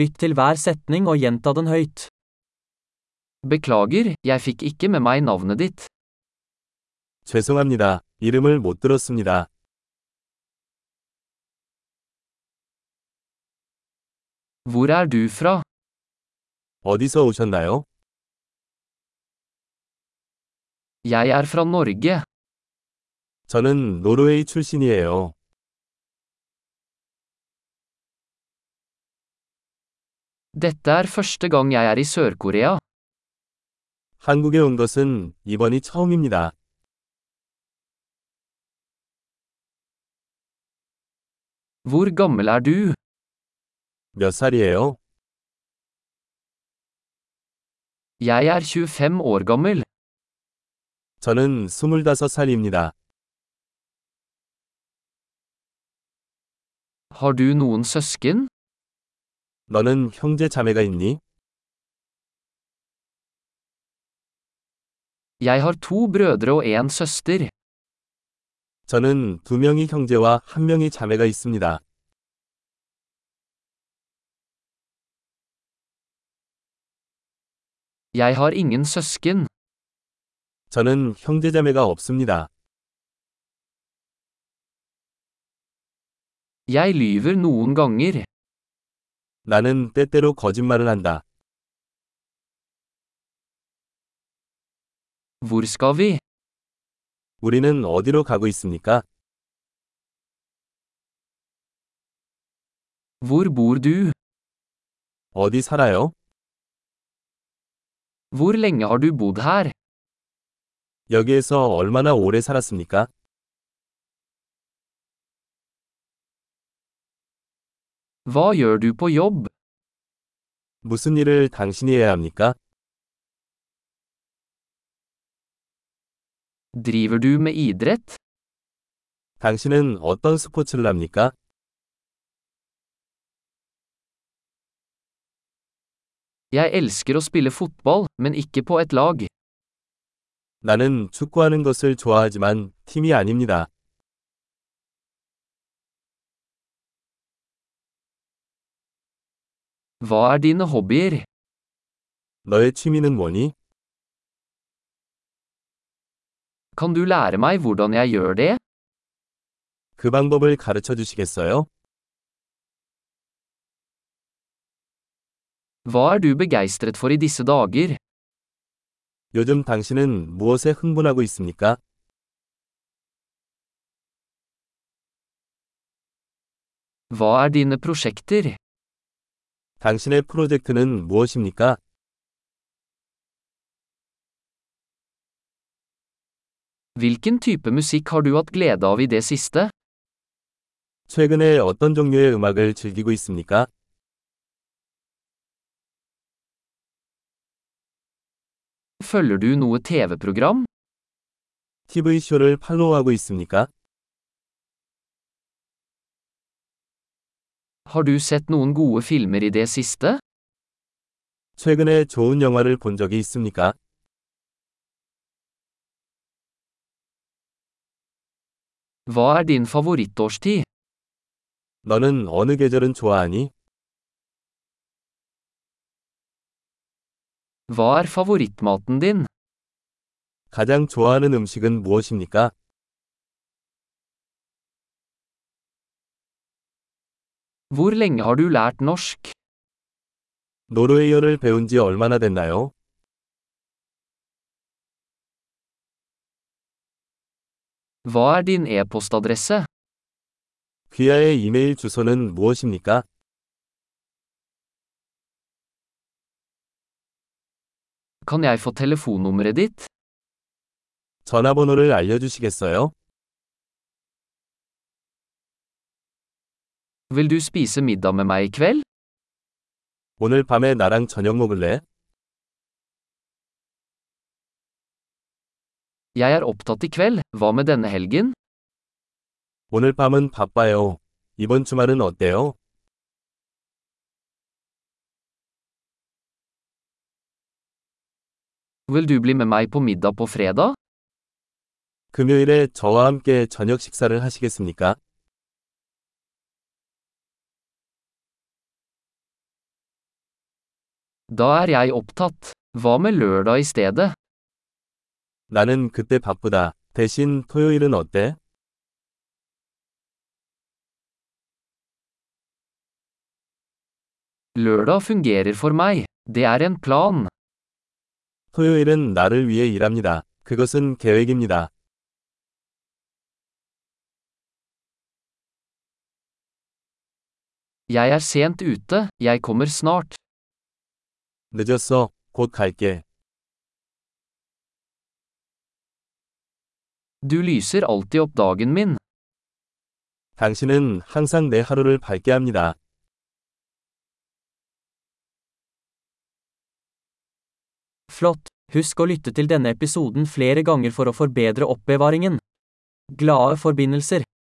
Lytt til hver setning og gjenta den høyt. Beklager, jeg fikk ikke med meg navnet ditt. 죄송합니다. 이름을 못 들었습니다. Hvor er du fra? 어디서 오셨나요? Jeg er fra Norge. 저는 노르웨이 출신이에요. Dette er første gang jeg er i Sør-Korea. 한국에 온 것은 이번이 처음입니다. Hvor gammel er du? 몇 살이에요? Jeg er 25 år gammel. 저는 25살입니다. Har du noen søsken? 너는 형제 자매가 있니? Jeg har to brødre og en søster. 저는 두 명이 형제와 한 명이 자매가 있습니다. Jeg har ingen søsken. 저는 형제 자매가 없습니다. Jeg lyver noen ganger. 나는 때때로 거짓말을 한다. Hvor skal vi? 우리는 어디로 가고 있습니까? Hvor bor du? 어디 살아요? Hvor lenge har du bodd her? 여기에서 얼마나 오래 살았습니까? Hva gjør du på jobb? 무슨 일을 당신이 해야 합니까? Driver du med idrett? 당신은 어떤 스포츠를 합니까? Jeg elsker å spille fotball, men ikke på et lag. 나는 축구하는 것을 좋아하지만 팀이 아닙니다. Hva er dine hobbyer? 너의 취미는 뭐니? Kan du lære meg hvordan jeg gjør det? 그 방법을 가르쳐 주시겠어요? Hva er du begeistret for i disse dager? 요즘 당신은 무엇에 흥분하고 있습니까? Hva er dine prosjekter? 당신의 프로젝트는 무엇입니까? Hvilken type musikk har du hatt glede av i det siste? 최근에 어떤 종류의 음악을 즐기고 있습니까? Følger du noe TV-program? TV쇼를 팔로우하고 있습니까? Har du sett noen gode filmer i det siste? 최근에 좋은 영화를 본 적이 있습니까? Hva er din favorittårstid? 너는 어느 계절은 좋아하니? Hva er favorittmaten din? 가장 좋아하는 음식은 무엇입니까? Hvor lenge har du lært norsk? 노르웨이어를 배운 지 얼마나 됐나요? Hva er din e-postadresse? 귀하의 이메일 주소는 무엇입니까? Kan jeg få telefonnummeret ditt? 전화번호를 알려주시겠어요? Vil du spise middag med meg i kveld? 오늘 밤에 나랑 저녁 먹을래? Jeg er opptatt i kveld, hva med denne helgen? 오늘 밤은 바빠요. 이번 주말은 어때요? Vil du bli med meg på middag på fredag? 금요일에 저와 함께 저녁 식사를 하시겠습니까? Da er jeg opptatt. Hva med lørdag i stedet? 나는 그때 바쁘다. 대신 토요일은 어때? Lørdag fungerer for meg. Det er en plan. 토요일은 나를 위해 일합니다. 그것은 계획입니다. Jeg er sent ute, jeg kommer snart. 늦었어. 곧 갈게. Du lyser alltid opp dagen min. 당신은 항상 내 하루를 밝게 합니다. Flott! Husk å lytte til denne episoden flere ganger for å forbedre oppbevaringen. Glade forbindelser!